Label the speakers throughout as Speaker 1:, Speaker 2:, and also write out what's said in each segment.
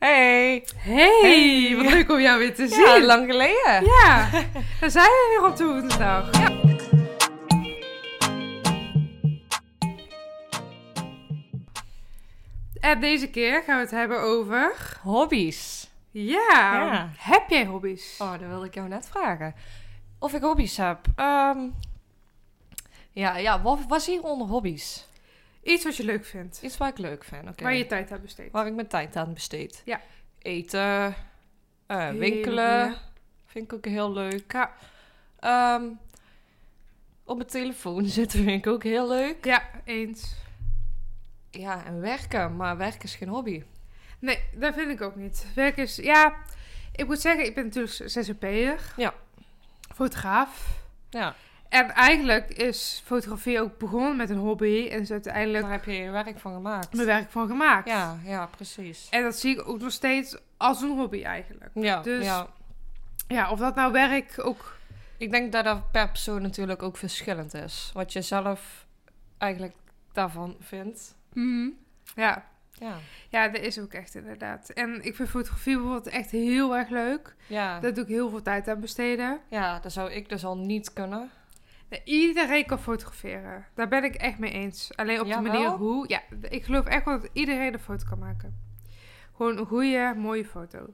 Speaker 1: Hey,
Speaker 2: Hey,
Speaker 1: Hey.
Speaker 2: wat leuk om jou weer te zien.
Speaker 1: ja, lang geleden.
Speaker 2: Ja, daar zijn we weer op de woensdag. En deze keer gaan we het hebben over...
Speaker 1: Hobby's.
Speaker 2: Ja,
Speaker 1: Ja.
Speaker 2: heb jij hobby's?
Speaker 1: Oh, dat wilde ik jou net vragen. Of ik hobby's heb. Ehm, ja, ja, wat was hier onder hobby's?
Speaker 2: Iets wat je leuk vindt,
Speaker 1: Iets waar ik leuk vind. Oké.
Speaker 2: waar je tijd aan besteedt.
Speaker 1: Waar ik mijn tijd aan besteed.
Speaker 2: Ja.
Speaker 1: Eten, eh,
Speaker 2: Heel,
Speaker 1: winkelen.
Speaker 2: ja.
Speaker 1: Vind ik ook heel leuk. Ja. Ehm, op mijn telefoon zitten vind ik ook heel leuk.
Speaker 2: Ja, eens.
Speaker 1: Ja, en werken. Maar werken is geen hobby.
Speaker 2: Nee, dat vind ik ook niet. Werk is... Ja, ik moet zeggen, ik ben natuurlijk zzp'er.
Speaker 1: Ja.
Speaker 2: Fotograaf.
Speaker 1: Ja,
Speaker 2: En eigenlijk is fotografie ook begonnen met een hobby en is uiteindelijk
Speaker 1: daar heb je je werk van gemaakt.
Speaker 2: mijn werk van gemaakt.
Speaker 1: Ja, ja, precies.
Speaker 2: En dat zie ik ook nog steeds als een hobby eigenlijk.
Speaker 1: Ja,
Speaker 2: Dus-
Speaker 1: ja,
Speaker 2: Ja, of dat nou werk ook...
Speaker 1: ik denk dat dat per persoon natuurlijk ook verschillend is. Wat je zelf eigenlijk daarvan vindt.
Speaker 2: Ja.
Speaker 1: Ja,
Speaker 2: ja, dat is ook echt inderdaad. En ik vind fotografie bijvoorbeeld echt heel erg leuk.
Speaker 1: ja.
Speaker 2: Daar doe ik heel veel tijd aan besteden.
Speaker 1: ja dat zou ik dus al niet kunnen.
Speaker 2: Nee, Iedereen kan fotograferen. Daar ben ik echt mee eens. Alleen op de
Speaker 1: Jawel?
Speaker 2: manier hoe. Ja, ik geloof echt wel dat iedereen een foto kan maken. Gewoon een goede, mooie foto.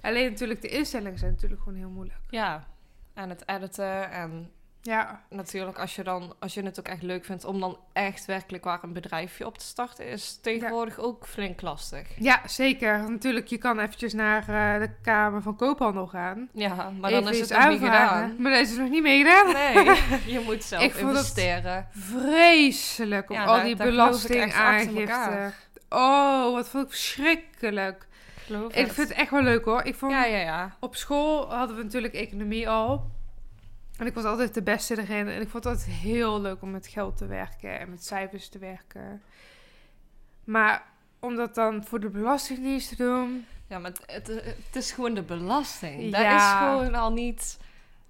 Speaker 2: Alleen natuurlijk, de instellingen zijn natuurlijk gewoon heel moeilijk.
Speaker 1: Ja, en het editen en
Speaker 2: Ja,
Speaker 1: natuurlijk als je, dan, als je het ook echt leuk vindt om dan echt werkelijk waar een bedrijfje op te starten, is tegenwoordig ook flink lastig.
Speaker 2: ja zeker. Natuurlijk, je kan eventjes naar eh, de Kamer van Koophandel gaan.
Speaker 1: Ja, maar
Speaker 2: Even
Speaker 1: dan is
Speaker 2: iets
Speaker 1: het nog niet
Speaker 2: aanvragen.
Speaker 1: gedaan.
Speaker 2: Maar dan is het nog niet mee gedaan.
Speaker 1: Nee, je moet zelf
Speaker 2: Ik vond het-
Speaker 1: investeren.
Speaker 2: Vreselijk om
Speaker 1: Ja,
Speaker 2: al
Speaker 1: daar-
Speaker 2: die
Speaker 1: daar geloof ik echt achter
Speaker 2: belastingaangifte.
Speaker 1: elkaar.
Speaker 2: Oh, wat vond ik verschrikkelijk.
Speaker 1: Geloof
Speaker 2: Ik vind het echt wel leuk hoor. Ik vond
Speaker 1: Ja, ja, ja.
Speaker 2: Op school hadden we natuurlijk economie al. En ik was altijd de beste erin. En ik vond het altijd heel leuk om met geld te werken en met cijfers te werken. Maar om dat dan voor de Belastingdienst te doen.
Speaker 1: Ja, maar het, het- het is gewoon de belasting. Dat
Speaker 2: Ja.
Speaker 1: is gewoon al niet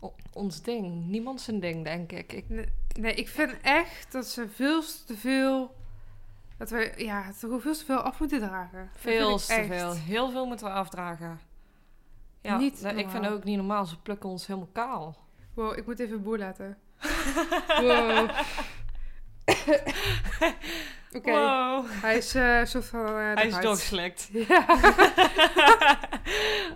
Speaker 1: o- ons ding. Niemand zijn ding, denk ik. ik
Speaker 2: Nee, nee, ik vind echt dat ze veel te veel. Dat we ja, het gewoon veel te veel af moeten dragen. Dat vind
Speaker 1: veel
Speaker 2: ik
Speaker 1: te
Speaker 2: echt.
Speaker 1: veel. Heel veel moeten we afdragen. Ja,
Speaker 2: Niet
Speaker 1: dat- ik vind
Speaker 2: normaal.
Speaker 1: het ook niet normaal. Ze plukken ons helemaal kaal.
Speaker 2: Wow, ik moet even boer laten. Wow. Oké,
Speaker 1: Wow.
Speaker 2: hij is eh soort van. eh,
Speaker 1: Hij is
Speaker 2: eruit.
Speaker 1: doorgeslikt.
Speaker 2: Ja.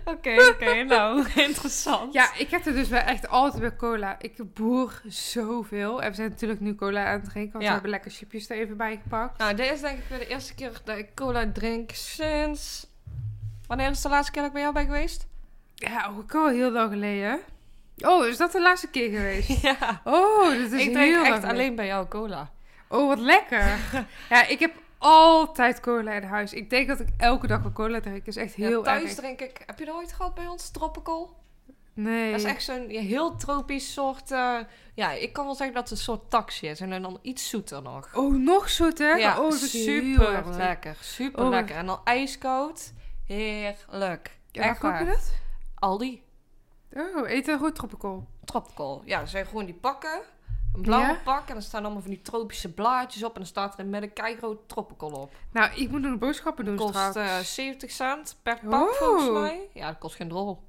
Speaker 1: Oké, oké. Nou, interessant.
Speaker 2: Ja, ik heb er dus wel echt altijd bij cola. Ik boer zoveel. En we zijn natuurlijk nu cola aan het drinken, want
Speaker 1: Ja.
Speaker 2: we hebben lekker chipjes er even bij gepakt.
Speaker 1: Nou, dit is denk ik weer de eerste keer dat ik cola drink sinds... Wanneer is de laatste keer dat ik bij jou ben geweest?
Speaker 2: Ja, oh, ook al heel lang geleden. Oh, is dat de laatste keer geweest?
Speaker 1: Ja.
Speaker 2: Oh, dat is
Speaker 1: ik
Speaker 2: heel
Speaker 1: drink
Speaker 2: lang
Speaker 1: echt
Speaker 2: geleden.
Speaker 1: alleen bij jou cola.
Speaker 2: Oh, wat lekker. ja, ik heb altijd cola in huis. Ik denk dat ik elke dag wel cola drink. Dat is echt
Speaker 1: Ja,
Speaker 2: heel
Speaker 1: thuis
Speaker 2: erg.
Speaker 1: drink ik. Heb je dat ooit gehad bij ons? Tropical?
Speaker 2: Nee.
Speaker 1: Dat is echt zo'n ja, heel tropisch soort. eh, ja, ik kan wel zeggen dat het een soort taxi is. En dan iets zoeter nog.
Speaker 2: Oh, nog zoeter?
Speaker 1: ja,
Speaker 2: oh, dat is heel erg
Speaker 1: super
Speaker 2: lekker.
Speaker 1: lekker. Super
Speaker 2: Oh,
Speaker 1: lekker. En dan ijskoud. Heerlijk.
Speaker 2: Ja, waar
Speaker 1: echt
Speaker 2: koop je
Speaker 1: waar.
Speaker 2: dat?
Speaker 1: Aldi.
Speaker 2: Oh, eet een goed tropical.
Speaker 1: Tropical. Ja, dat zijn gewoon die pakken. Een blauwe
Speaker 2: Ja?
Speaker 1: pak. En er staan allemaal van die tropische blaadjes op. En dan staat er in midden keigro tropical op.
Speaker 2: Nou, ik moet nog boodschappen doen
Speaker 1: Kost eh,
Speaker 2: straks.
Speaker 1: 70 cent per pak
Speaker 2: Oh.
Speaker 1: volgens mij. Ja, dat kost geen drol.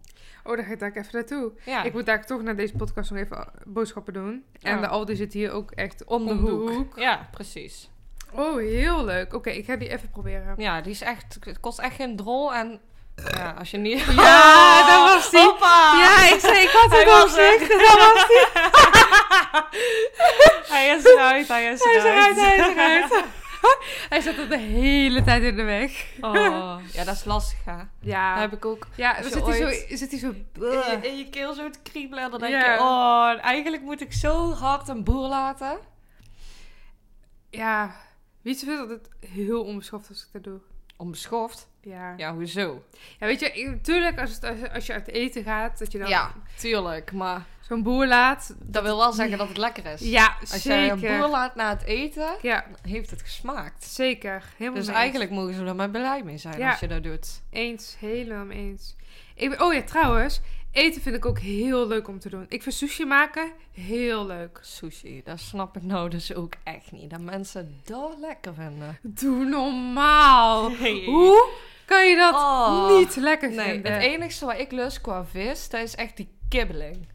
Speaker 2: Oh, daar ga ik daar even naartoe.
Speaker 1: Ja,
Speaker 2: Ik moet daar toch naar deze podcast nog even eh, boodschappen doen. En
Speaker 1: Ja.
Speaker 2: de Aldi zit hier ook echt om,
Speaker 1: om
Speaker 2: de, hoek.
Speaker 1: Ja, precies.
Speaker 2: Oh, heel leuk. Oké, ik ga die even proberen.
Speaker 1: Ja, die is echt, het kost echt geen drol. En ja, als je niet...
Speaker 2: Ja, dat was die.
Speaker 1: Hoppa!
Speaker 2: ik zei, ik had
Speaker 1: Hij was er.
Speaker 2: niet. Dat was die.
Speaker 1: Hij is eruit, hij is
Speaker 2: Hij is eruit,
Speaker 1: eruit.
Speaker 2: hij is eruit. Hij zat al de hele tijd in de weg.
Speaker 1: Oh, ja, dat is lastig, hè. Dat
Speaker 2: Ja,
Speaker 1: heb ik ook.
Speaker 2: ja dan
Speaker 1: als je
Speaker 2: zit hij
Speaker 1: ooit-
Speaker 2: zo... Zit hij zo
Speaker 1: In je, in je keel zo te kriebelen. En dan denk
Speaker 2: Ja.
Speaker 1: je, oh, eigenlijk moet ik zo hard een boer laten.
Speaker 2: ja, wie vindt dat het heel onbeschoft als ik dat doe.
Speaker 1: Onbeschoft.
Speaker 2: Ja. ja.
Speaker 1: Ja, hoezo?
Speaker 2: weet je, ik- natuurlijk als, het, als, als je uit eten gaat, dat je dan
Speaker 1: Ja, tuurlijk. Maar
Speaker 2: zo'n boer laat.
Speaker 1: dat wil wel zeggen dat het lekker is.
Speaker 2: Ja,
Speaker 1: Als je
Speaker 2: zeker.
Speaker 1: een boer laat na het eten,
Speaker 2: Ja,
Speaker 1: heeft het gesmaakt.
Speaker 2: zeker. Helemaal
Speaker 1: Dus
Speaker 2: mee
Speaker 1: eigenlijk mogen ze er maar blij mee zijn
Speaker 2: Ja.
Speaker 1: als je dat doet.
Speaker 2: eens. Helemaal mee eens. Ik ben- oh ja, trouwens. Eten vind ik ook heel leuk om te doen. Ik vind sushi maken heel leuk.
Speaker 1: Sushi, dat snap ik nou dus ook echt niet. Dat mensen dat lekker vinden.
Speaker 2: Doe normaal.
Speaker 1: Hey.
Speaker 2: Hoe kan je dat
Speaker 1: Oh.
Speaker 2: niet lekker
Speaker 1: Nee,
Speaker 2: vinden.
Speaker 1: het enige wat ik lust qua vis, dat is echt die kibbeling.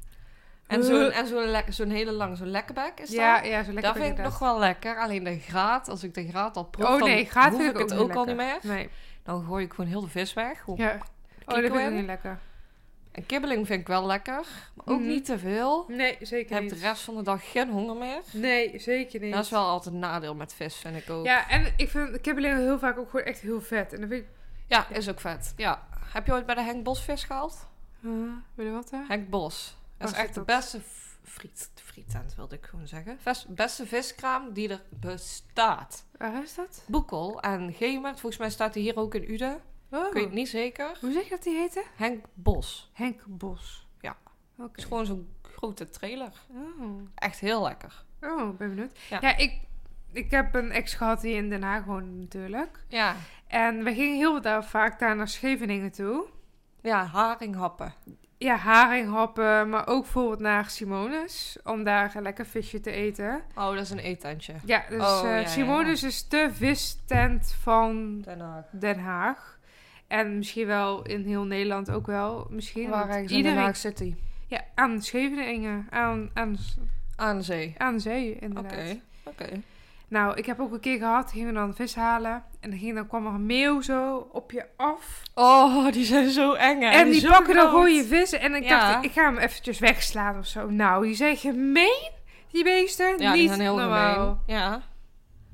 Speaker 1: En zo'n
Speaker 2: Huh.
Speaker 1: en zo'n lek- zo'n hele lang, zo'n lekkerbek is
Speaker 2: ja,
Speaker 1: dat.
Speaker 2: ja, zo lekker
Speaker 1: dat vind ik nog wel lekker. Alleen de graad, als ik de graad al proef,
Speaker 2: Oh
Speaker 1: dan
Speaker 2: nee, gaat
Speaker 1: hoef
Speaker 2: vind
Speaker 1: ik het ook al niet meer.
Speaker 2: Nee.
Speaker 1: Dan gooi ik gewoon heel de vis weg. Gewoon-
Speaker 2: Ja. Oh, dat
Speaker 1: Kikkel
Speaker 2: vind ik
Speaker 1: in.
Speaker 2: niet lekker.
Speaker 1: En kibbeling vind ik wel lekker, maar ook
Speaker 2: Mhm.
Speaker 1: niet te veel.
Speaker 2: Nee,
Speaker 1: Ik
Speaker 2: zeker
Speaker 1: heb de rest van de dag geen honger meer.
Speaker 2: Nee, zeker niet.
Speaker 1: Dat is wel altijd een nadeel met vis, vind ik ook. Ja,
Speaker 2: Ja, en ik vind kibbeling heel vaak ook gewoon echt heel vet. En dan vind ik...
Speaker 1: is ook vet. Ja. Heb je ooit bij de Henk Bos vis gehaald?
Speaker 2: Huh? wil je wat eh? hè?
Speaker 1: Henk Bos. Dat
Speaker 2: Waar
Speaker 1: is
Speaker 2: zit
Speaker 1: echt de
Speaker 2: dat?
Speaker 1: beste f- friet, frietent, wilde ik gewoon zeggen. Ves- beste viskraam die er bestaat.
Speaker 2: Waar is dat?
Speaker 1: Boekel en Gemert. Volgens mij staat hij hier ook in Uden.
Speaker 2: Oh.
Speaker 1: Ik weet het niet zeker.
Speaker 2: Hoe zeg je dat die heette?
Speaker 1: Henk Bos.
Speaker 2: Henk Bos.
Speaker 1: Ja.
Speaker 2: Oké.
Speaker 1: Het is gewoon zo'n grote trailer.
Speaker 2: Oh.
Speaker 1: Echt heel lekker.
Speaker 2: Oh, ik ben benieuwd.
Speaker 1: Ja.
Speaker 2: Ja, ik, ik heb een ex gehad die in Den Haag woonde natuurlijk.
Speaker 1: Ja.
Speaker 2: En we gingen heel daar, vaak daar naar Scheveningen toe.
Speaker 1: Ja, haringhappen.
Speaker 2: Ja, haringhappen, maar ook bijvoorbeeld naar Simone's. Om daar een lekker visje te eten.
Speaker 1: Oh, dat is een eetentje.
Speaker 2: Ja, dus
Speaker 1: Oh,
Speaker 2: eh
Speaker 1: ja, ja, ja.
Speaker 2: Simone's is de vistent van
Speaker 1: Den Haag.
Speaker 2: Den Haag. En misschien wel in heel Nederland ook wel. Misschien
Speaker 1: Waar
Speaker 2: want
Speaker 1: ergens in Den
Speaker 2: iedereen-
Speaker 1: Haag zit hij?
Speaker 2: Ja, aan Scheveningen. Aan, aan,
Speaker 1: Aan de zee.
Speaker 2: aan de zee,
Speaker 1: Oké.
Speaker 2: inderdaad.
Speaker 1: Oké.
Speaker 2: Nou, ik heb ook een keer gehad, gingen we dan vis halen. En dan, ging, dan kwam er een meeuw zo op je af.
Speaker 1: Oh, die zijn zo eng. hè?
Speaker 2: en die
Speaker 1: zijn
Speaker 2: pakken dan
Speaker 1: groot.
Speaker 2: gewoon je vissen. En ik
Speaker 1: Ja.
Speaker 2: dacht, ik ga hem eventjes wegslaan of zo. Nou, die zijn gemeen, die beesten.
Speaker 1: Ja,
Speaker 2: Niet
Speaker 1: die zijn heel
Speaker 2: normaal.
Speaker 1: gemeen. Ja.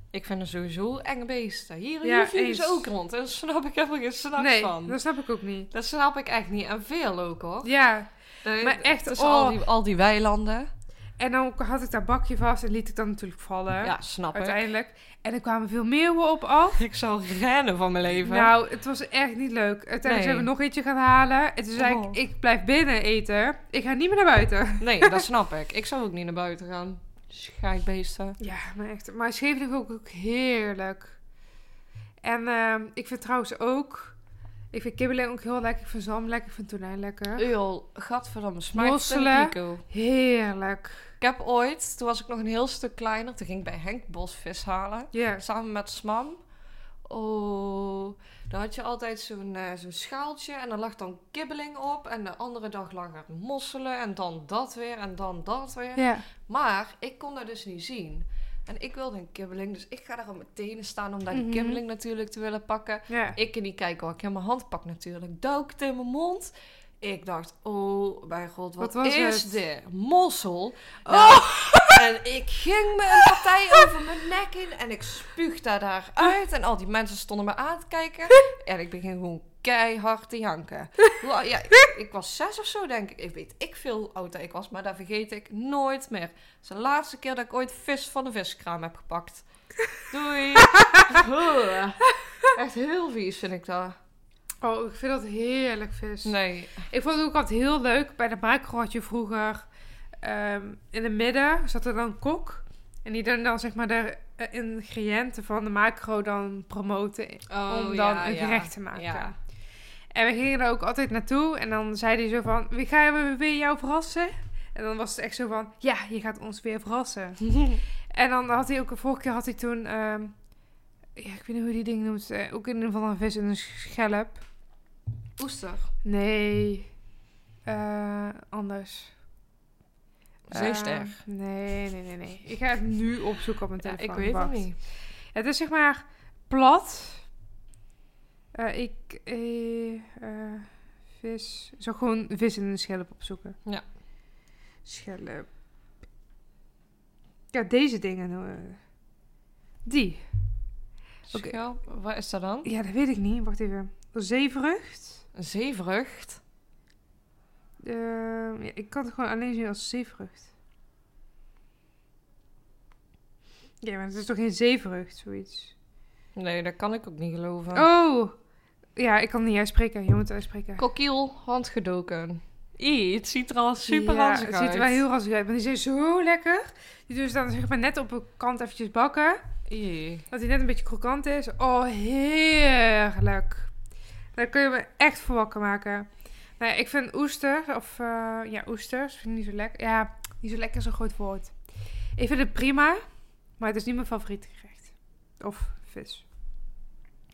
Speaker 1: Ik vind het sowieso enge beesten. Hier,
Speaker 2: Ja,
Speaker 1: hier vliegen ze
Speaker 2: eens.
Speaker 1: ook rond. Daar snap ik helemaal geen snap
Speaker 2: Nee,
Speaker 1: van.
Speaker 2: dat snap ik ook niet.
Speaker 1: Dat snap ik echt niet. En veel ook, hoor.
Speaker 2: Ja,
Speaker 1: Dat-
Speaker 2: maar echt,
Speaker 1: tussen
Speaker 2: oh.
Speaker 1: al, die, al die weilanden.
Speaker 2: en dan had ik dat bakje vast en liet ik dat natuurlijk vallen.
Speaker 1: Ja, snap ik.
Speaker 2: uiteindelijk. En er kwamen veel meeuwen op af.
Speaker 1: Ik zal rennen van mijn leven.
Speaker 2: Nou, het was echt niet leuk. Uiteindelijk
Speaker 1: Nee.
Speaker 2: zijn we nog eentje gaan halen. En toen zei
Speaker 1: Oh.
Speaker 2: ik, ik blijf binnen eten. Ik ga niet meer naar buiten.
Speaker 1: Nee, dat snap ik. Ik zou ook niet naar buiten gaan. Scheikbeesten.
Speaker 2: Ja, maar echt. Maar Scheveningen vind ik ook heerlijk. En ehm, ik vind trouwens ook... Ik vind kibbeling ook heel lekker. Ik vind zalm lekker. Ik vind tonijn lekker.
Speaker 1: Eul, gadverdamme, smaak
Speaker 2: Mosselen.
Speaker 1: Pico.
Speaker 2: Heerlijk.
Speaker 1: Ik heb ooit, toen was ik nog een heel stuk kleiner, toen ging ik bij Henk Bos vis halen.
Speaker 2: Ja.
Speaker 1: Samen met Smam. Oh, daar had je altijd zo'n eh, zo'n schaaltje en daar lag dan kibbeling op. En de andere dag lag er mosselen en dan dat weer en dan dat weer.
Speaker 2: Ja.
Speaker 1: Maar ik kon dat dus niet zien. En ik wilde een kibbeling, dus ik ga daar op mijn tenen staan om daar die
Speaker 2: Mhm.
Speaker 1: kibbeling natuurlijk te willen pakken.
Speaker 2: Ja.
Speaker 1: Ik kan niet kijken wat ik in mijn hand pak natuurlijk. Duik het in mijn mond. Ik dacht, oh mijn god, wat,
Speaker 2: Wat was
Speaker 1: is
Speaker 2: het?
Speaker 1: dit? Mossel. Nou, En ik ging me een partij over mijn nek in en ik spuugde daaruit. En al die mensen stonden me aan te kijken. En ik begin gewoon keihard te janken. Wel, Ja, ik, ik was zes of zo, denk ik. Ik weet ik veel hoe oud dat ik was, maar dat vergeet ik nooit meer. Het is de laatste keer dat ik ooit vis van de viskraam heb gepakt. Doei! Huh. Echt heel vies vind ik dat.
Speaker 2: Oh, ik vind dat heerlijk vis.
Speaker 1: Nee.
Speaker 2: Ik vond het ook altijd heel leuk. Bij de macro had je vroeger... ehm, in het midden zat er dan een kok. En die dan, dan zeg maar de eh, ingrediënten van de macro dan promoten. om dan een gerecht te maken.
Speaker 1: Oh, Ja.
Speaker 2: En we gingen er ook altijd naartoe. En dan zei hij zo van, we gaan weer jou verrassen. En dan was het echt zo van, ja, je gaat ons weer verrassen. En dan had hij ook, de vorige keer had hij toen, ehm, ja, ik weet niet hoe die ding noemt. eh, ook in ieder geval een vis en een schelp.
Speaker 1: Oester.
Speaker 2: Nee, eh, anders.
Speaker 1: Zeester.
Speaker 2: Eh, nee, nee, nee, nee. Ik ga het nu opzoeken op mijn
Speaker 1: Ja,
Speaker 2: telefoon.
Speaker 1: ik weet
Speaker 2: Wacht.
Speaker 1: het niet.
Speaker 2: Het is zeg maar plat. Eh, ik eh, eh, vis. Zo gewoon vis in een schelp opzoeken.
Speaker 1: Ja.
Speaker 2: Schelp. Ja, deze dingen. eh, Die. Oké.
Speaker 1: Schelp, wat is dat dan?
Speaker 2: Ja, dat weet ik niet. Wacht even. Zeevrucht.
Speaker 1: Een zeevrucht.
Speaker 2: Ehm, ja, ik kan het gewoon alleen zien als zeevrucht. Ja, maar het is toch geen zeevrucht, zoiets.
Speaker 1: Nee, dat kan ik ook niet geloven.
Speaker 2: Oh! Ja, ik kan het niet uitspreken. Je moet het uitspreken.
Speaker 1: Kokiel, handgedoken. Ie, het ziet er al super
Speaker 2: ja,
Speaker 1: ranzig
Speaker 2: Het ziet er wel heel ranzig uit, maar die zijn zo lekker. Die doen ze dan zeg maar net op een kant eventjes bakken.
Speaker 1: Ie.
Speaker 2: Dat hij net een beetje krokant is. Oh, heerlijk. Daar kun je me echt voor wakker maken. Nou ja, ik vind oesters, of eh, ja, oesters, vind ik niet zo lekker. Ja, niet zo lekker is een groot woord. Ik vind het prima, maar het is niet mijn favoriet gerecht. Of vis.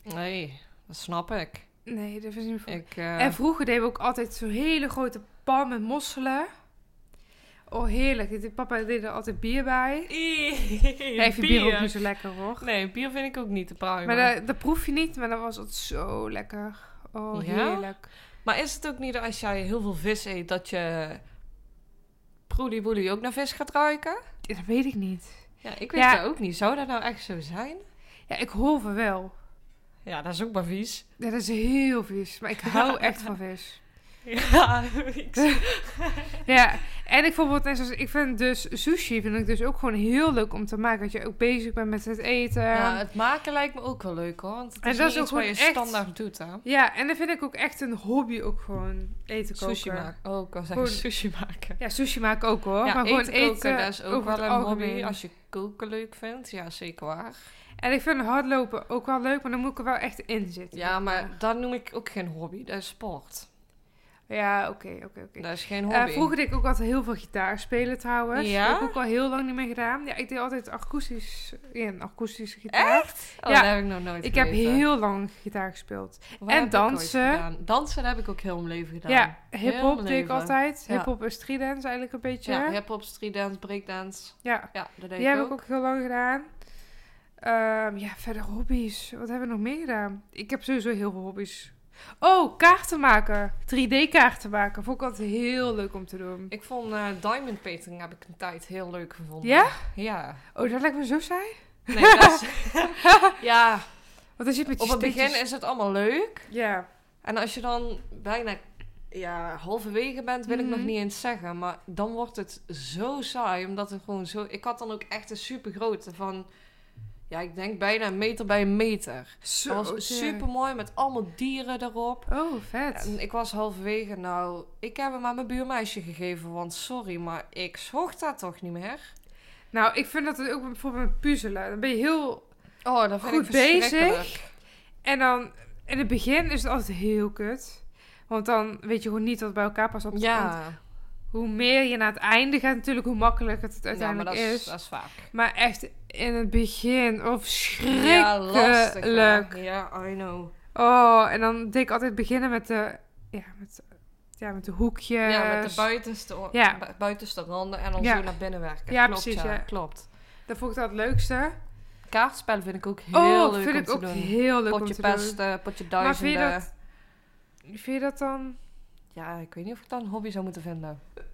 Speaker 1: Nee, dat snap ik.
Speaker 2: Nee, dat was niet voor.
Speaker 1: Ik, eh,
Speaker 2: En vroeger deden we ook altijd zo'n hele grote pan met mosselen. Oh, heerlijk. Die Papa deed er altijd bier bij. Ja, ik vind bier ook niet zo lekker, hoor.
Speaker 1: Nee, bier vind ik ook niet te pruimen.
Speaker 2: Maar
Speaker 1: Maar,
Speaker 2: dat, dat proef je niet, maar dat was altijd zo lekker. Oh,
Speaker 1: Ja?
Speaker 2: heerlijk.
Speaker 1: is het ook niet dat als jij heel veel vis eet, dat je proelie ook naar vis gaat ruiken?
Speaker 2: Ja, Dat weet ik niet.
Speaker 1: Ja, ik weet
Speaker 2: Ja.
Speaker 1: dat ook niet. Zou dat nou echt zo zijn?
Speaker 2: Ja, ik hoor van wel.
Speaker 1: Ja, dat is ook maar vies.
Speaker 2: Ja, dat is heel vies, maar ik hou echt van vis.
Speaker 1: Ja,
Speaker 2: Ja, en ik, bijvoorbeeld, net zoals- ik vind dus sushi vind ik dus ook gewoon heel leuk om te maken. Dat je ook bezig bent met het eten.
Speaker 1: ja,
Speaker 2: Ja,
Speaker 1: het maken lijkt me ook wel leuk hoor. Want het
Speaker 2: Ehm, En
Speaker 1: is,
Speaker 2: dat
Speaker 1: niet
Speaker 2: is
Speaker 1: iets
Speaker 2: ook
Speaker 1: wat je
Speaker 2: gewoon echt
Speaker 1: standaard doet hè.
Speaker 2: en dan vind ik ook echt een hobby ook gewoon eten koken.
Speaker 1: Sushi maken. Oh, ik wou zeggen
Speaker 2: Gewoon-
Speaker 1: sushi maken.
Speaker 2: Ja, sushi maken ook hoor.
Speaker 1: ja,
Speaker 2: maar gewoon eten,
Speaker 1: koken, dat is ook
Speaker 2: over
Speaker 1: wel
Speaker 2: het
Speaker 1: een hobby.
Speaker 2: algemeen.
Speaker 1: Als je koken leuk vindt, ja zeker waar.
Speaker 2: En ik vind hardlopen ook wel leuk, maar dan moet ik er wel echt in zitten.
Speaker 1: Ja, maar dat noem ik ook geen hobby. Dat is sport.
Speaker 2: Ja, oké, oké, oké.
Speaker 1: Dat is geen
Speaker 2: Eh,
Speaker 1: hobby.
Speaker 2: vroeger deed ik ook altijd heel veel gitaar spelen trouwens.
Speaker 1: Ja?
Speaker 2: Dat heb ik ook al heel lang niet meer gedaan. Ja, ik deed altijd akoestisch, ja, een akoestische gitaar.
Speaker 1: Oh,
Speaker 2: Ja.
Speaker 1: dat heb ik nog nooit
Speaker 2: Ik heb
Speaker 1: geweten.
Speaker 2: heel lang gitaar gespeeld.
Speaker 1: Wat
Speaker 2: en
Speaker 1: heb ik ooit
Speaker 2: dansen.
Speaker 1: gedaan? Dansen heb ik ook heel mijn leven gedaan.
Speaker 2: Ja,
Speaker 1: Heel
Speaker 2: hip-hop
Speaker 1: mijn
Speaker 2: deed ik
Speaker 1: leven.
Speaker 2: altijd.
Speaker 1: Ja.
Speaker 2: Hip-hop en streetdance eigenlijk een beetje.
Speaker 1: Ja,
Speaker 2: Ja,
Speaker 1: hip-hop, streetdance, breakdance. Ja, dat deed
Speaker 2: die
Speaker 1: ik
Speaker 2: heb
Speaker 1: ook.
Speaker 2: ik ook heel lang gedaan. Ehm, ja, verder hobby's. Wat hebben we nog meer gedaan? Ik heb sowieso heel veel hobby's. Oh, kaarten maken. 3D-kaarten maken. Vond ik altijd heel leuk om te doen.
Speaker 1: Ik vond eh, diamond painting heb ik een tijd heel leuk gevonden.
Speaker 2: Ja?
Speaker 1: Ja.
Speaker 2: Oh, dat lijkt me zo saai.
Speaker 1: Nee, dat is- ja,
Speaker 2: Want dan zit met die
Speaker 1: op het begin
Speaker 2: stickjes-
Speaker 1: is het allemaal leuk.
Speaker 2: Ja.
Speaker 1: En als je dan bijna ja, halverwege bent, wil ik nog
Speaker 2: Mhm.
Speaker 1: niet eens zeggen. Maar dan wordt het zo saai, omdat het gewoon zo... Ik had dan ook echt een supergrote van... Ja, ik denk bijna een meter bij een meter.
Speaker 2: Zo,
Speaker 1: Dat was
Speaker 2: tering.
Speaker 1: super mooi met allemaal dieren erop.
Speaker 2: Oh, vet.
Speaker 1: En ik was halverwege, nou, ik heb hem aan mijn buurmeisje gegeven, want sorry, maar ik zocht dat toch niet meer.
Speaker 2: Nou, ik vind dat het ook bijvoorbeeld met puzzelen. Dan ben je heel...
Speaker 1: Oh, dat vind
Speaker 2: Goed
Speaker 1: ik verschrikkelijk.
Speaker 2: En dan... In het begin is het altijd heel kut. Want dan weet je gewoon niet wat bij elkaar past. Op want
Speaker 1: Ja,
Speaker 2: Hoe meer je naar het einde gaat natuurlijk, hoe makkelijker het
Speaker 1: ja maar
Speaker 2: uiteindelijk
Speaker 1: dat
Speaker 2: is.
Speaker 1: is, dat is vaak.
Speaker 2: Maar echt in het begin, oh verschrikkelijk.
Speaker 1: Ja, lastig. hè? Ja, I know.
Speaker 2: Oh, en dan deed ik altijd beginnen met de... Ja, met, ja, met de hoekjes.
Speaker 1: Ja, met de buitenste, o-
Speaker 2: Eh, Ja.
Speaker 1: bu- buitenste randen en dan
Speaker 2: Ja.
Speaker 1: zo naar binnen werken.
Speaker 2: Ja,
Speaker 1: klopt,
Speaker 2: precies,
Speaker 1: Ja.
Speaker 2: ja.
Speaker 1: Klopt.
Speaker 2: Dat vond ik dat het leukste.
Speaker 1: Kaartspellen vind ik ook heel
Speaker 2: oh,
Speaker 1: leuk
Speaker 2: vind
Speaker 1: om
Speaker 2: ik
Speaker 1: te
Speaker 2: ook
Speaker 1: doen.
Speaker 2: heel leuk om
Speaker 1: potje
Speaker 2: te doen.
Speaker 1: pesten, potje
Speaker 2: Maar vind je
Speaker 1: duizenden.
Speaker 2: dat... Vind je dat dan...
Speaker 1: Ja, ik weet niet of ik dat een hobby zou moeten vinden.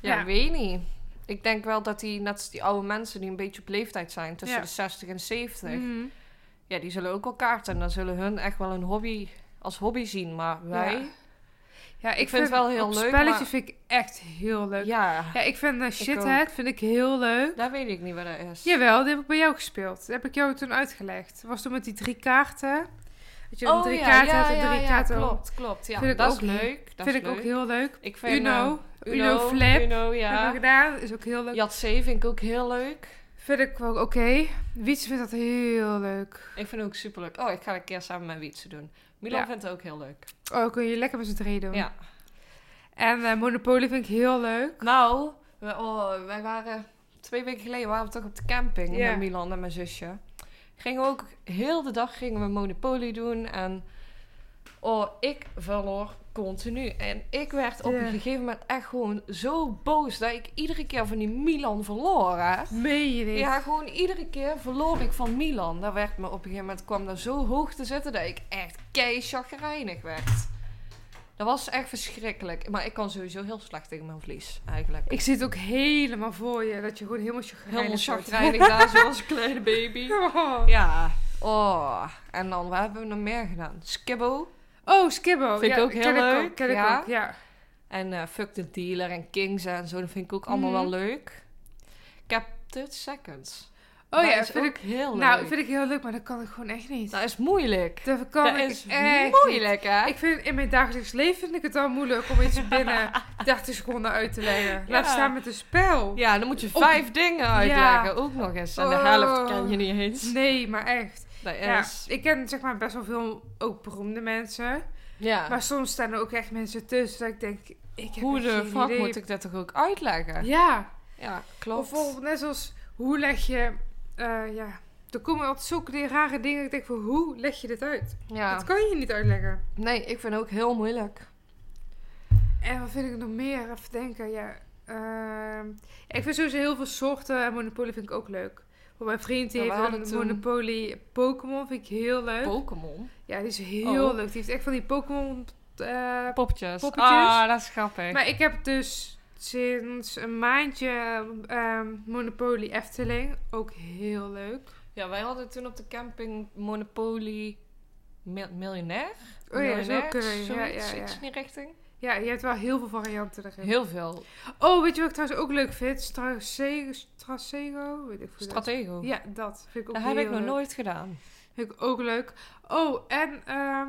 Speaker 1: ja,
Speaker 2: Ja.
Speaker 1: ik weet niet. Ik denk wel dat die, net als die oude mensen die een beetje op leeftijd zijn, tussen
Speaker 2: Ja.
Speaker 1: de 60 en 70,
Speaker 2: Mhm.
Speaker 1: ja, die zullen ook wel kaarten. En dan zullen hun echt wel een hobby als hobby zien. Maar wij,
Speaker 2: Ja. Ja, ik,
Speaker 1: vind het wel heel
Speaker 2: op
Speaker 1: leuk,
Speaker 2: spelletje
Speaker 1: maar-
Speaker 2: vind ik echt heel
Speaker 1: ja,
Speaker 2: leuk. Ja, ik vind eh, Shithead vind ik heel leuk.
Speaker 1: daar weet ik niet wat dat is.
Speaker 2: Jawel, die heb ik bij jou gespeeld. Dat heb ik jou toen uitgelegd. Dat was toen met die drie kaarten. Dat
Speaker 1: Oh
Speaker 2: je dan drie kaarten hebt en drie kaarten om.
Speaker 1: klopt, klopt. Ja,
Speaker 2: Vind ik
Speaker 1: dat
Speaker 2: ook-
Speaker 1: is leuk. Dat
Speaker 2: vind
Speaker 1: is
Speaker 2: ik ook
Speaker 1: leuk.
Speaker 2: heel leuk.
Speaker 1: Ik vind,
Speaker 2: Uno,
Speaker 1: eh,
Speaker 2: Uno, Flip.
Speaker 1: Uno,
Speaker 2: Hebben we
Speaker 1: ja.
Speaker 2: gedaan, is ook heel leuk.
Speaker 1: Jatzee vind ik ook heel leuk.
Speaker 2: Vind ik wel oké. Wietse vindt dat heel leuk.
Speaker 1: Ik vind het ook superleuk. Oh, ik ga dat een keer samen met Wietse doen. Milan
Speaker 2: Ja.
Speaker 1: vindt het ook heel leuk.
Speaker 2: Oh, kun je lekker met z'n drieën doen.
Speaker 1: Ja.
Speaker 2: En eh, Monopoly vind ik heel leuk.
Speaker 1: Nou, we, oh, wij waren twee weken geleden waren we toch op de camping
Speaker 2: Ja.
Speaker 1: met Milan en mijn zusje. Gingen we ook heel de dag gingen we Monopoly doen en oh, ik verloor continu. En ik werd op
Speaker 2: Ja.
Speaker 1: een gegeven moment echt gewoon zo boos dat ik iedere keer van die Milan verloor. Hè?
Speaker 2: Meen je niet?
Speaker 1: Ja, gewoon iedere keer verloor ik van Milan. Daar werd me op een gegeven moment kwam daar zo hoog te zitten dat ik echt kei chagrijnig werd. Dat was echt verschrikkelijk. Maar ik kan sowieso heel slecht tegen mijn verlies, eigenlijk.
Speaker 2: Ik zit ook helemaal voor je. Dat je gewoon helemaal chagrijnig
Speaker 1: Helemaal
Speaker 2: wordt.
Speaker 1: chagrijnig daar, zoals een kleine baby.
Speaker 2: Oh.
Speaker 1: Ja. Oh, en dan, wat hebben we nog meer gedaan? Skibbo
Speaker 2: Oh, Skibbo.
Speaker 1: Vind ik
Speaker 2: ja,
Speaker 1: ook heel
Speaker 2: ken Ik
Speaker 1: leuk,
Speaker 2: ook, ken
Speaker 1: ja.
Speaker 2: ik ook, ja.
Speaker 1: en eh, Fuck the Dealer en Kings en zo. Dat vind ik ook allemaal
Speaker 2: Mhm.
Speaker 1: wel leuk. Captain Seconds.
Speaker 2: Oh
Speaker 1: Dat
Speaker 2: ja,
Speaker 1: is
Speaker 2: vind
Speaker 1: ook
Speaker 2: ik,
Speaker 1: heel leuk.
Speaker 2: nou, vind ik heel leuk, maar dat kan ik gewoon echt niet.
Speaker 1: Dat is moeilijk.
Speaker 2: dat kan
Speaker 1: Dat
Speaker 2: ik
Speaker 1: is
Speaker 2: echt niet.
Speaker 1: moeilijk, hè?
Speaker 2: Ik vind in mijn dagelijks leven vind ik het al moeilijk om iets binnen 30 seconden uit te leggen. Laat
Speaker 1: Ja.
Speaker 2: staan met een spel.
Speaker 1: Ja, dan moet je
Speaker 2: Op-
Speaker 1: vijf dingen uitleggen, ook nog eens. En de
Speaker 2: Oh.
Speaker 1: helft ken je niet eens. dus-
Speaker 2: Nee, maar echt.
Speaker 1: Dat
Speaker 2: Ja,
Speaker 1: is...
Speaker 2: ik ken zeg maar best wel veel ook beroemde mensen.
Speaker 1: Ja.
Speaker 2: Maar soms staan er ook echt mensen tussen dat ik denk, ik heb
Speaker 1: Hoe
Speaker 2: echt
Speaker 1: de
Speaker 2: geen
Speaker 1: fuck
Speaker 2: idee.
Speaker 1: moet ik dat toch ook uitleggen?
Speaker 2: Ja,
Speaker 1: Ja,
Speaker 2: Of
Speaker 1: klopt.
Speaker 2: bijvoorbeeld net zoals hoe leg je eh, ja, er komen altijd zulke die rare dingen. Ik denk van, hoe leg je dit uit?
Speaker 1: Ja.
Speaker 2: Dat kan je niet uitleggen.
Speaker 1: Nee, ik vind het ook heel moeilijk.
Speaker 2: En wat vind ik nog meer? Even denken, ja. ehm, ik vind sowieso heel veel soorten. En Monopoly vind ik ook leuk. Want mijn vriend die
Speaker 1: Ja, we
Speaker 2: heeft
Speaker 1: hadden
Speaker 2: een
Speaker 1: toen-
Speaker 2: Monopoly Pokémon. Vind ik heel leuk.
Speaker 1: Pokémon?
Speaker 2: ja, die is heel
Speaker 1: Oh.
Speaker 2: leuk. Die heeft echt van die Pokémon... eh,
Speaker 1: Poppetjes.
Speaker 2: Poppetjes.
Speaker 1: Ah, dat is grappig.
Speaker 2: Maar ik heb dus sinds een maandje ehm, Monopoly Efteling. Ook heel leuk.
Speaker 1: Ja, wij hadden toen op de camping Monopoly mil- Miljonair.
Speaker 2: Oh ja, zo
Speaker 1: Miljonair,
Speaker 2: kun je.
Speaker 1: zoiets,
Speaker 2: Ja, ja, ja.
Speaker 1: iets in die richting.
Speaker 2: ja, je hebt wel heel veel varianten erin.
Speaker 1: Heel veel.
Speaker 2: Oh, weet je wat ik trouwens ook leuk vind? Strasego, Strasego? Weet ik veel.
Speaker 1: Stratego.
Speaker 2: Ja, eh, dat vind ik ook
Speaker 1: Oh. dat
Speaker 2: heel
Speaker 1: heb ik nog
Speaker 2: leuk.
Speaker 1: nooit gedaan.
Speaker 2: Vind ik ook leuk. Oh, en ehm,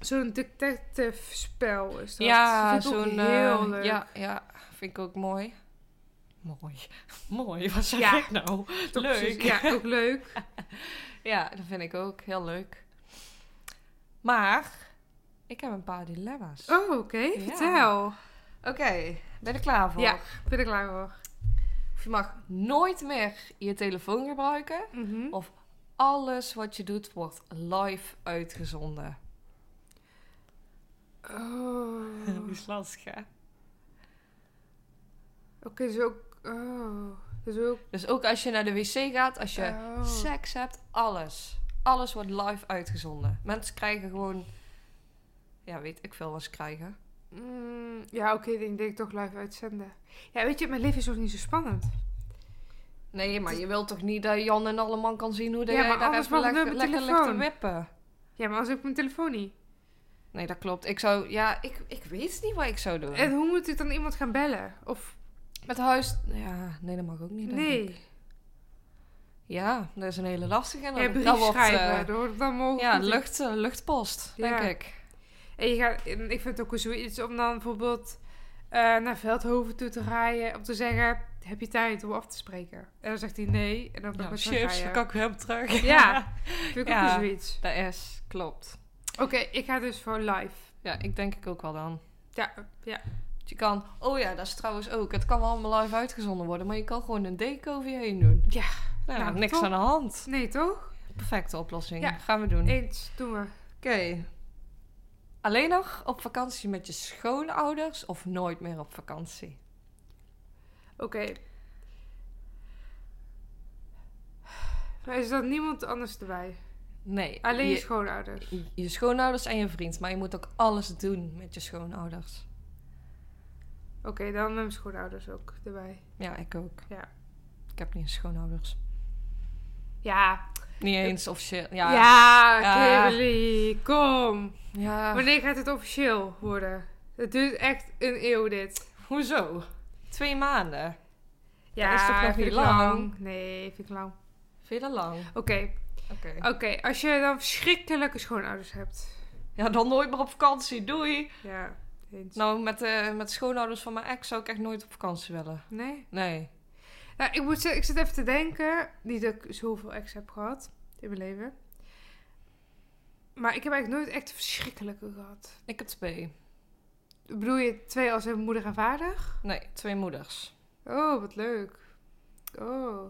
Speaker 2: zo'n detective spel is dat.
Speaker 1: ja,
Speaker 2: Vind ik ook
Speaker 1: zo'n...
Speaker 2: heel
Speaker 1: eh,
Speaker 2: leuk.
Speaker 1: Ja, ja, vind ik ook mooi. Mooi. mooi, wat zeg
Speaker 2: Ja.
Speaker 1: ik nou?
Speaker 2: Toch
Speaker 1: leuk.
Speaker 2: precies. Ja, ook leuk.
Speaker 1: Ja, dat vind ik ook heel leuk. Maar, ik heb een paar dilemma's.
Speaker 2: Oh, oké.
Speaker 1: Ja.
Speaker 2: Vertel.
Speaker 1: Oké, ben je er klaar voor?
Speaker 2: Ja. Ben ik klaar voor.
Speaker 1: Je mag Oh. nooit meer je telefoon gebruiken.
Speaker 2: Mhm.
Speaker 1: Of alles wat je doet wordt live uitgezonden.
Speaker 2: Oh.
Speaker 1: is lastig, hè?
Speaker 2: Oké, dus ook... Oh. Dus ook...
Speaker 1: Dus ook als je naar de wc gaat, als je
Speaker 2: oh.
Speaker 1: seks hebt, alles. Alles wordt live uitgezonden. Mensen krijgen gewoon... Ja, weet ik veel wat ze krijgen.
Speaker 2: Mm, ja, oké, dan denk ik toch live uitzenden. Ja, weet je, mijn leven is ook niet zo spannend.
Speaker 1: Nee, maar je wilt toch niet dat Jan en alle man kan zien hoe dat
Speaker 2: Ja,
Speaker 1: jij
Speaker 2: maar
Speaker 1: daar
Speaker 2: alles
Speaker 1: even
Speaker 2: mag
Speaker 1: lekker,
Speaker 2: met mijn
Speaker 1: lekker ligt te
Speaker 2: telefoon.
Speaker 1: wippen.
Speaker 2: Ja, maar als ik mijn telefoon niet...
Speaker 1: Nee, dat klopt. Ik zou... Ja, ik, ik weet niet wat ik zou doen.
Speaker 2: En hoe moet ik dan iemand gaan bellen? Of...
Speaker 1: Met huis... Ja, nee, dat mag ook niet, denk ik.
Speaker 2: Nee.
Speaker 1: Ja, dat is een hele lastige. En
Speaker 2: Ja,
Speaker 1: dan-
Speaker 2: brief
Speaker 1: dat wordt, eh,
Speaker 2: schrijven. dat wordt dan mogelijk.
Speaker 1: Ja, lucht, eh, luchtpost,
Speaker 2: Ja.
Speaker 1: denk ik.
Speaker 2: En je gaat, en ik vind het ook zoiets om dan bijvoorbeeld eh, naar Veldhoven toe te rijden. Om te zeggen, heb je tijd om af te spreken? En dan zegt hij nee. En dan kan ik weer terugrijden.
Speaker 1: ik hem terug.
Speaker 2: Ja, vind ik ook
Speaker 1: Ja.
Speaker 2: weer zoiets.
Speaker 1: Dat is, klopt.
Speaker 2: Oké, ik ga dus voor live.
Speaker 1: Ja, ik denk ik ook wel dan.
Speaker 2: Ja, ja.
Speaker 1: Want Je kan, oh ja, dat is trouwens ook. Het kan wel allemaal live uitgezonden worden, maar je kan gewoon een deken over je heen doen.
Speaker 2: Ja.
Speaker 1: Nou,
Speaker 2: Nou,
Speaker 1: niks
Speaker 2: top.
Speaker 1: aan de hand.
Speaker 2: Nee, toch?
Speaker 1: Perfecte oplossing.
Speaker 2: Ja.
Speaker 1: Gaan we doen. Oké.
Speaker 2: Eens, doen we.
Speaker 1: Alleen nog op vakantie met je schoonouders of nooit meer op vakantie?
Speaker 2: Oké. Maar is dat niemand anders erbij?
Speaker 1: Nee.
Speaker 2: Alleen je
Speaker 1: je,
Speaker 2: schoonouders.
Speaker 1: je schoonouders en je vriend, maar je moet ook alles doen met je schoonouders.
Speaker 2: Oké, dan met mijn schoonouders ook erbij.
Speaker 1: Ja, ik ook.
Speaker 2: Ja.
Speaker 1: Ik heb niet eens schoonouders.
Speaker 2: Ja.
Speaker 1: Niet eens officieel.
Speaker 2: Ja,
Speaker 1: Ja. Ja.
Speaker 2: Kimberly, kom.
Speaker 1: ja.
Speaker 2: Wanneer gaat het officieel worden? Het duurt echt een eeuw dit.
Speaker 1: Hoezo? Twee maanden.
Speaker 2: Ja,
Speaker 1: is toch nog
Speaker 2: vind
Speaker 1: niet
Speaker 2: ik
Speaker 1: lang?
Speaker 2: Nee, vind ik lang.
Speaker 1: Vind je dat lang?
Speaker 2: Oké,
Speaker 1: Oké.
Speaker 2: oké. Als je dan verschrikkelijke schoonouders hebt.
Speaker 1: Ja, dan nooit meer op vakantie. Doei.
Speaker 2: Ja, eens.
Speaker 1: Nou, met, eh met schoonouders van mijn ex zou ik echt nooit op vakantie willen.
Speaker 2: Nee?
Speaker 1: Nee.
Speaker 2: Nou, ik, moet, zeggen, ik zit even te denken. Niet dat ik zoveel ex heb gehad in mijn leven. Maar ik heb eigenlijk nooit echt verschrikkelijke gehad.
Speaker 1: Ik heb twee.
Speaker 2: Bedoel je twee als een moeder en vader?
Speaker 1: Nee, twee moeders.
Speaker 2: Oh, wat leuk. Oh.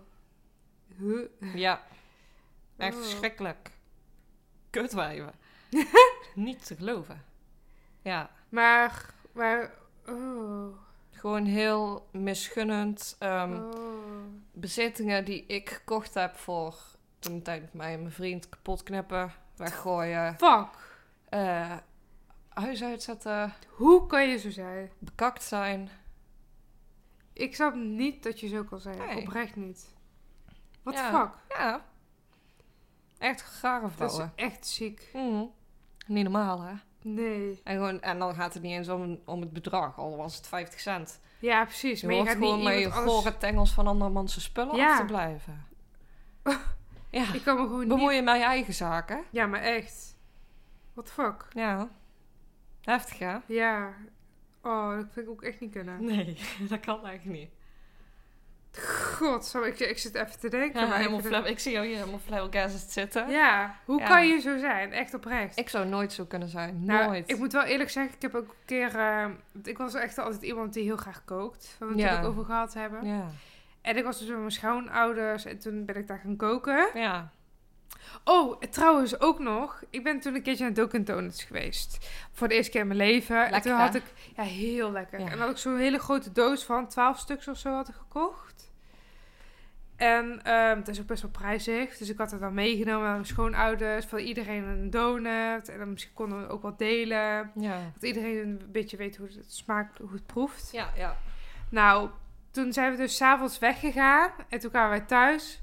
Speaker 2: Huh.
Speaker 1: Ja, echt
Speaker 2: Oh.
Speaker 1: verschrikkelijk. Kutwijven. Niet te geloven. Ja,
Speaker 2: Maar, maar, oh.
Speaker 1: gewoon heel misgunnend. ehm,
Speaker 2: oh.
Speaker 1: bezittingen die ik gekocht heb voor toen tijd met mij en mijn vriend kapot knippen, weggooien,
Speaker 2: Fuck.
Speaker 1: eh, huis uitzetten,
Speaker 2: Hoe kan je zo zijn?
Speaker 1: bekakt zijn.
Speaker 2: Ik snap niet dat je zo kan zijn.
Speaker 1: Nee.
Speaker 2: Oprecht niet. Wat
Speaker 1: Ja,
Speaker 2: fuck?
Speaker 1: Ja, echt rare
Speaker 2: Dat is
Speaker 1: vrouwen.
Speaker 2: echt ziek.
Speaker 1: Mhm. Niet normaal, hè?
Speaker 2: Nee.
Speaker 1: En, gewoon, en dan gaat het niet eens om, om het bedrag, al was het 50 cent.
Speaker 2: Ja, precies.
Speaker 1: Je
Speaker 2: maar je
Speaker 1: hoort
Speaker 2: gaat niet
Speaker 1: gewoon met je
Speaker 2: iemand anders...
Speaker 1: gore tengels van andermans spullen
Speaker 2: Ja.
Speaker 1: af te blijven. ja,
Speaker 2: Ik kan me gewoon niet...
Speaker 1: bemoei je met je eigen zaken.
Speaker 2: Ja, maar echt. What the fuck?
Speaker 1: Ja, heftig, hè?
Speaker 2: Ja. Oh, dat vind ik ook echt niet kunnen.
Speaker 1: Nee, dat kan echt niet.
Speaker 2: God, zo, ik, ik zit even te denken.
Speaker 1: Ja,
Speaker 2: maar ik
Speaker 1: helemaal
Speaker 2: vind het-
Speaker 1: flab- ik zie jou hier helemaal flabbergasted zitten.
Speaker 2: Ja, hoe
Speaker 1: Ja.
Speaker 2: kan je zo zijn? Echt oprecht.
Speaker 1: Ik zou nooit zo kunnen zijn.
Speaker 2: Nou,
Speaker 1: nooit.
Speaker 2: ik moet wel eerlijk zeggen, ik heb ook een keer... eh, want ik was echt altijd iemand die heel graag kookt. Waar we het
Speaker 1: Ja.
Speaker 2: natuurlijk over gehad hebben.
Speaker 1: ja.
Speaker 2: En ik was dus met mijn schoonouders en toen ben ik daar gaan koken.
Speaker 1: Ja.
Speaker 2: Oh, trouwens ook nog. Ik ben toen een keertje naar Dunkin' Donuts geweest. Voor de eerste keer in mijn leven. en
Speaker 1: Lekker,
Speaker 2: toen
Speaker 1: hè?
Speaker 2: had ik... Ja, heel lekker.
Speaker 1: Ja.
Speaker 2: En had ik zo'n hele grote doos van 12 stuks of zo had ik gekocht. En ehm dat is ook best wel prijzig. Dus ik had het dan meegenomen aan mijn schoonouders. Voor iedereen een donut. En dan misschien konden we ook wat delen.
Speaker 1: Ja.
Speaker 2: Dat iedereen een beetje weet hoe het smaakt, hoe het proeft.
Speaker 1: Ja, ja.
Speaker 2: Nou, toen zijn we dus s'avonds weggegaan. En toen kwamen wij thuis.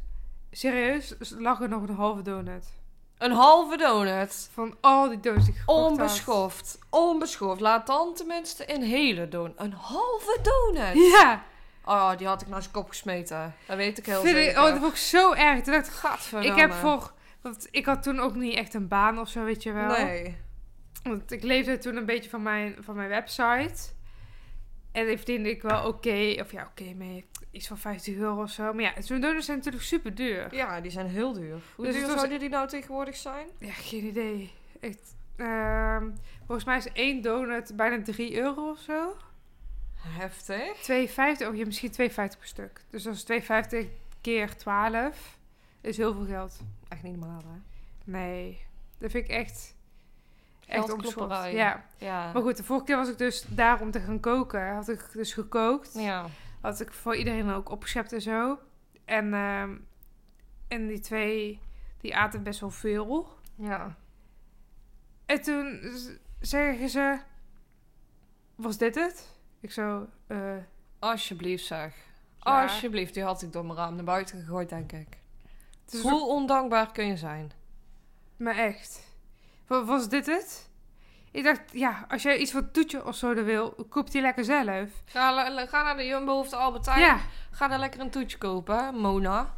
Speaker 2: Serieus, lag er nog een halve donut.
Speaker 1: Een halve donut.
Speaker 2: Van al die dozen die ik gekocht had.
Speaker 1: Onbeschoft. Onbeschoft. Laat dan tenminste een hele donut. Een halve donut.
Speaker 2: Ja,
Speaker 1: Oh, die had ik naar zijn kop gesmeten. Dat weet ik heel
Speaker 2: vind ik,
Speaker 1: zeker.
Speaker 2: oh, dat vond ik zo erg. Toen dacht ik,
Speaker 1: Gadverdamme.
Speaker 2: ik heb voor... Want ik had toen ook niet echt een baan of zo, weet je wel.
Speaker 1: Nee.
Speaker 2: Want ik leefde toen een beetje van mijn, van mijn website. En die verdiende ik wel oké. of ja, oké mee. Iets van 50 euro of zo. Maar ja, zo'n donuts zijn natuurlijk super duur.
Speaker 1: Ja, die zijn heel duur. Hoe
Speaker 2: Dus
Speaker 1: duur
Speaker 2: het was-
Speaker 1: zouden die nou tegenwoordig zijn?
Speaker 2: Ja, geen idee. Echt, ehm, volgens mij is één donut bijna 3 euro of zo.
Speaker 1: Heftig.
Speaker 2: 2,50. Oh, je misschien 2,50 per stuk. Dus dat is 2,50 keer 12. Is heel veel geld.
Speaker 1: Echt niet normaal, hè?
Speaker 2: Nee, dat vind ik echt... Echt
Speaker 1: Geldklopperij.
Speaker 2: onbeschoft. Ja,
Speaker 1: Ja.
Speaker 2: maar goed, de vorige keer was ik dus daar om te gaan koken. Had ik dus gekookt.
Speaker 1: Ja.
Speaker 2: Had ik voor iedereen ook opgeschept en zo. En, ehm, en die twee, die aten best wel veel.
Speaker 1: Ja.
Speaker 2: En toen z- zeggen ze: Was dit het? Ik zo: eh, "Oh,
Speaker 1: Alsjeblieft, zeg.
Speaker 2: Ja.
Speaker 1: Alsjeblieft, die had ik door mijn raam naar buiten gegooid, denk ik.
Speaker 2: het is
Speaker 1: Hoe ondankbaar kun je zijn?
Speaker 2: Maar echt. Wa- Was dit het? Ik dacht: Ja, als jij iets van toetje of zo er wil, koop die lekker zelf.
Speaker 1: Ga, la- ga naar de Jumbo of de Albert Heijn.
Speaker 2: Ja.
Speaker 1: Ga daar lekker een toetje kopen, Mona.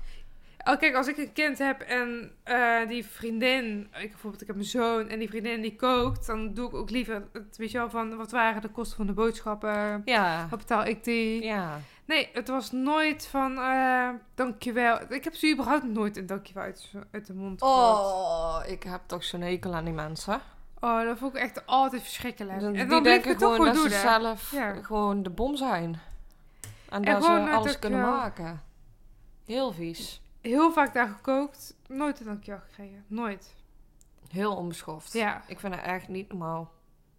Speaker 2: Oh, kijk, als ik een kind heb en eh, die vriendin, ik, bijvoorbeeld ik heb een zoon en die vriendin die kookt, dan doe ik ook liever het, weet je wel, van wat waren de kosten van de boodschappen?
Speaker 1: Ja.
Speaker 2: Wat betaal ik die?
Speaker 1: Ja.
Speaker 2: Nee, het was nooit van eh, dankjewel. Ik heb ze überhaupt nooit een dankjewel uit, uit de mond gehoord.
Speaker 1: Oh, ik heb toch zo'n hekel aan die mensen.
Speaker 2: Oh, dat vond ik echt altijd verschrikkelijk.
Speaker 1: Die
Speaker 2: en dan bleef
Speaker 1: denken
Speaker 2: ik het toch
Speaker 1: gewoon
Speaker 2: goed
Speaker 1: dat
Speaker 2: doen.
Speaker 1: ze
Speaker 2: hè.
Speaker 1: zelf
Speaker 2: Ja.
Speaker 1: gewoon de bom zijn. En,
Speaker 2: En
Speaker 1: dat
Speaker 2: gewoon,
Speaker 1: ze
Speaker 2: eh,
Speaker 1: alles
Speaker 2: dat
Speaker 1: kunnen
Speaker 2: je-
Speaker 1: maken. Heel vies.
Speaker 2: Heel vaak daar gekookt, nooit een dankjewel gekregen. Nooit.
Speaker 1: Heel onbeschoft.
Speaker 2: Ja,
Speaker 1: Ik vind het echt niet normaal.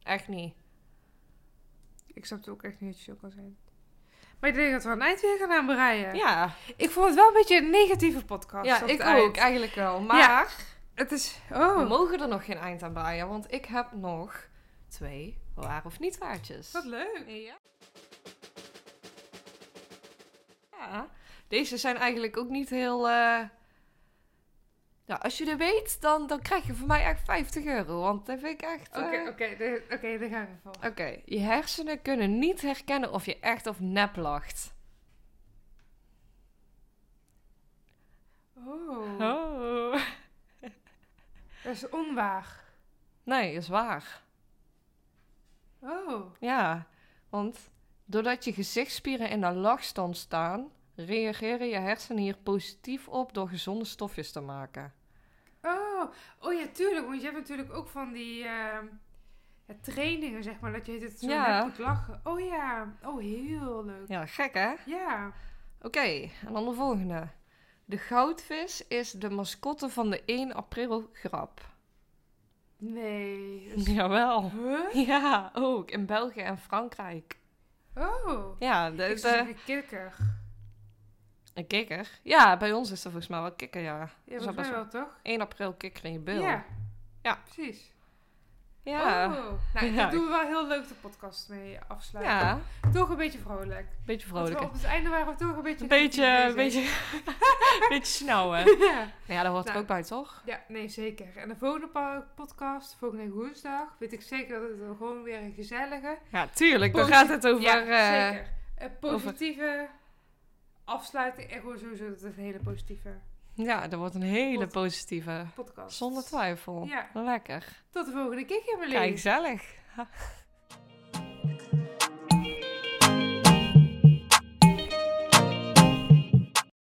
Speaker 1: Echt niet.
Speaker 2: ik snap het ook echt niet dat je zo kan zijn. Maar ik denk dat we een eind weer gaan aanbreien.
Speaker 1: Ja,
Speaker 2: Ik vond het wel een beetje een negatieve podcast.
Speaker 1: ja
Speaker 2: op
Speaker 1: ik
Speaker 2: het eind.
Speaker 1: ook eigenlijk wel. Maar
Speaker 2: Het is...
Speaker 1: we
Speaker 2: Oh,
Speaker 1: mogen er nog geen eind aan breien, want ik heb nog twee waar of niet waartjes.
Speaker 2: wat leuk.
Speaker 1: Ja. Ja, deze zijn eigenlijk ook niet heel. eh, Nou, als je dit weet, dan, dan krijg je van mij echt 50 euro. Want dat vind ik echt. eh,
Speaker 2: Oké, oké, de- oké, daar gaan we voor.
Speaker 1: Oké, je hersenen kunnen niet herkennen of je echt of nep lacht. Eh.
Speaker 2: Oh,
Speaker 1: Oh.
Speaker 2: dat is onwaar.
Speaker 1: Nee, is waar.
Speaker 2: Oh.
Speaker 1: Ja, want doordat je gezichtsspieren in een lachstand staan, reageren je hersenen hier positief op door gezonde stofjes te maken.
Speaker 2: Oh, oh ja, tuurlijk. Want je hebt natuurlijk ook van die ehm, ja, trainingen, zeg maar, dat je het zo
Speaker 1: Ja.
Speaker 2: net moet lachen. Oh ja, oh heel leuk.
Speaker 1: Ja, gek hè?
Speaker 2: Ja.
Speaker 1: Oké, en dan de volgende. De goudvis is de mascotte van de 1 april grap.
Speaker 2: Nee. dat is-
Speaker 1: Jawel.
Speaker 2: Huh?
Speaker 1: Ja, ook in België en Frankrijk.
Speaker 2: Oh.
Speaker 1: Ja, de,
Speaker 2: Ik
Speaker 1: de-
Speaker 2: zeg een kikker.
Speaker 1: een kikker. Ja, bij ons is dat volgens mij wel kikker, ja.
Speaker 2: Ja,
Speaker 1: dat
Speaker 2: volgens
Speaker 1: best
Speaker 2: mij
Speaker 1: wel-
Speaker 2: wel, toch?
Speaker 1: 1 april kikker in je bil.
Speaker 2: Ja.
Speaker 1: Ja.
Speaker 2: Precies.
Speaker 1: Ja.
Speaker 2: Oh. Nou,
Speaker 1: Ja.
Speaker 2: daar doen we wel heel leuk de podcast mee afsluiten.
Speaker 1: ja,
Speaker 2: Toch een beetje vrolijk.
Speaker 1: beetje
Speaker 2: Want
Speaker 1: vrolijk.
Speaker 2: we op het einde waren we toch een beetje...
Speaker 1: Een beetje, een
Speaker 2: negatief
Speaker 1: beetje,
Speaker 2: bezig.
Speaker 1: beetje snauwen.
Speaker 2: Ja.
Speaker 1: ja, daar hoort
Speaker 2: Nou.
Speaker 1: er ook bij, toch?
Speaker 2: ja, nee, zeker. En de volgende pa- podcast, volgende woensdag, weet ik zeker dat het er gewoon weer een gezellige...
Speaker 1: Ja, tuurlijk. Dan
Speaker 2: Positief-
Speaker 1: gaat het over...
Speaker 2: ja,
Speaker 1: eh,
Speaker 2: zeker. Een positieve afsluiting. En gewoon sowieso dat het een hele positieve
Speaker 1: ja, dat wordt een hele
Speaker 2: Pot-
Speaker 1: positieve.
Speaker 2: podcast.
Speaker 1: Zonder twijfel.
Speaker 2: Ja.
Speaker 1: Lekker.
Speaker 2: Tot de volgende keer, Emily.
Speaker 1: Kijk, gezellig.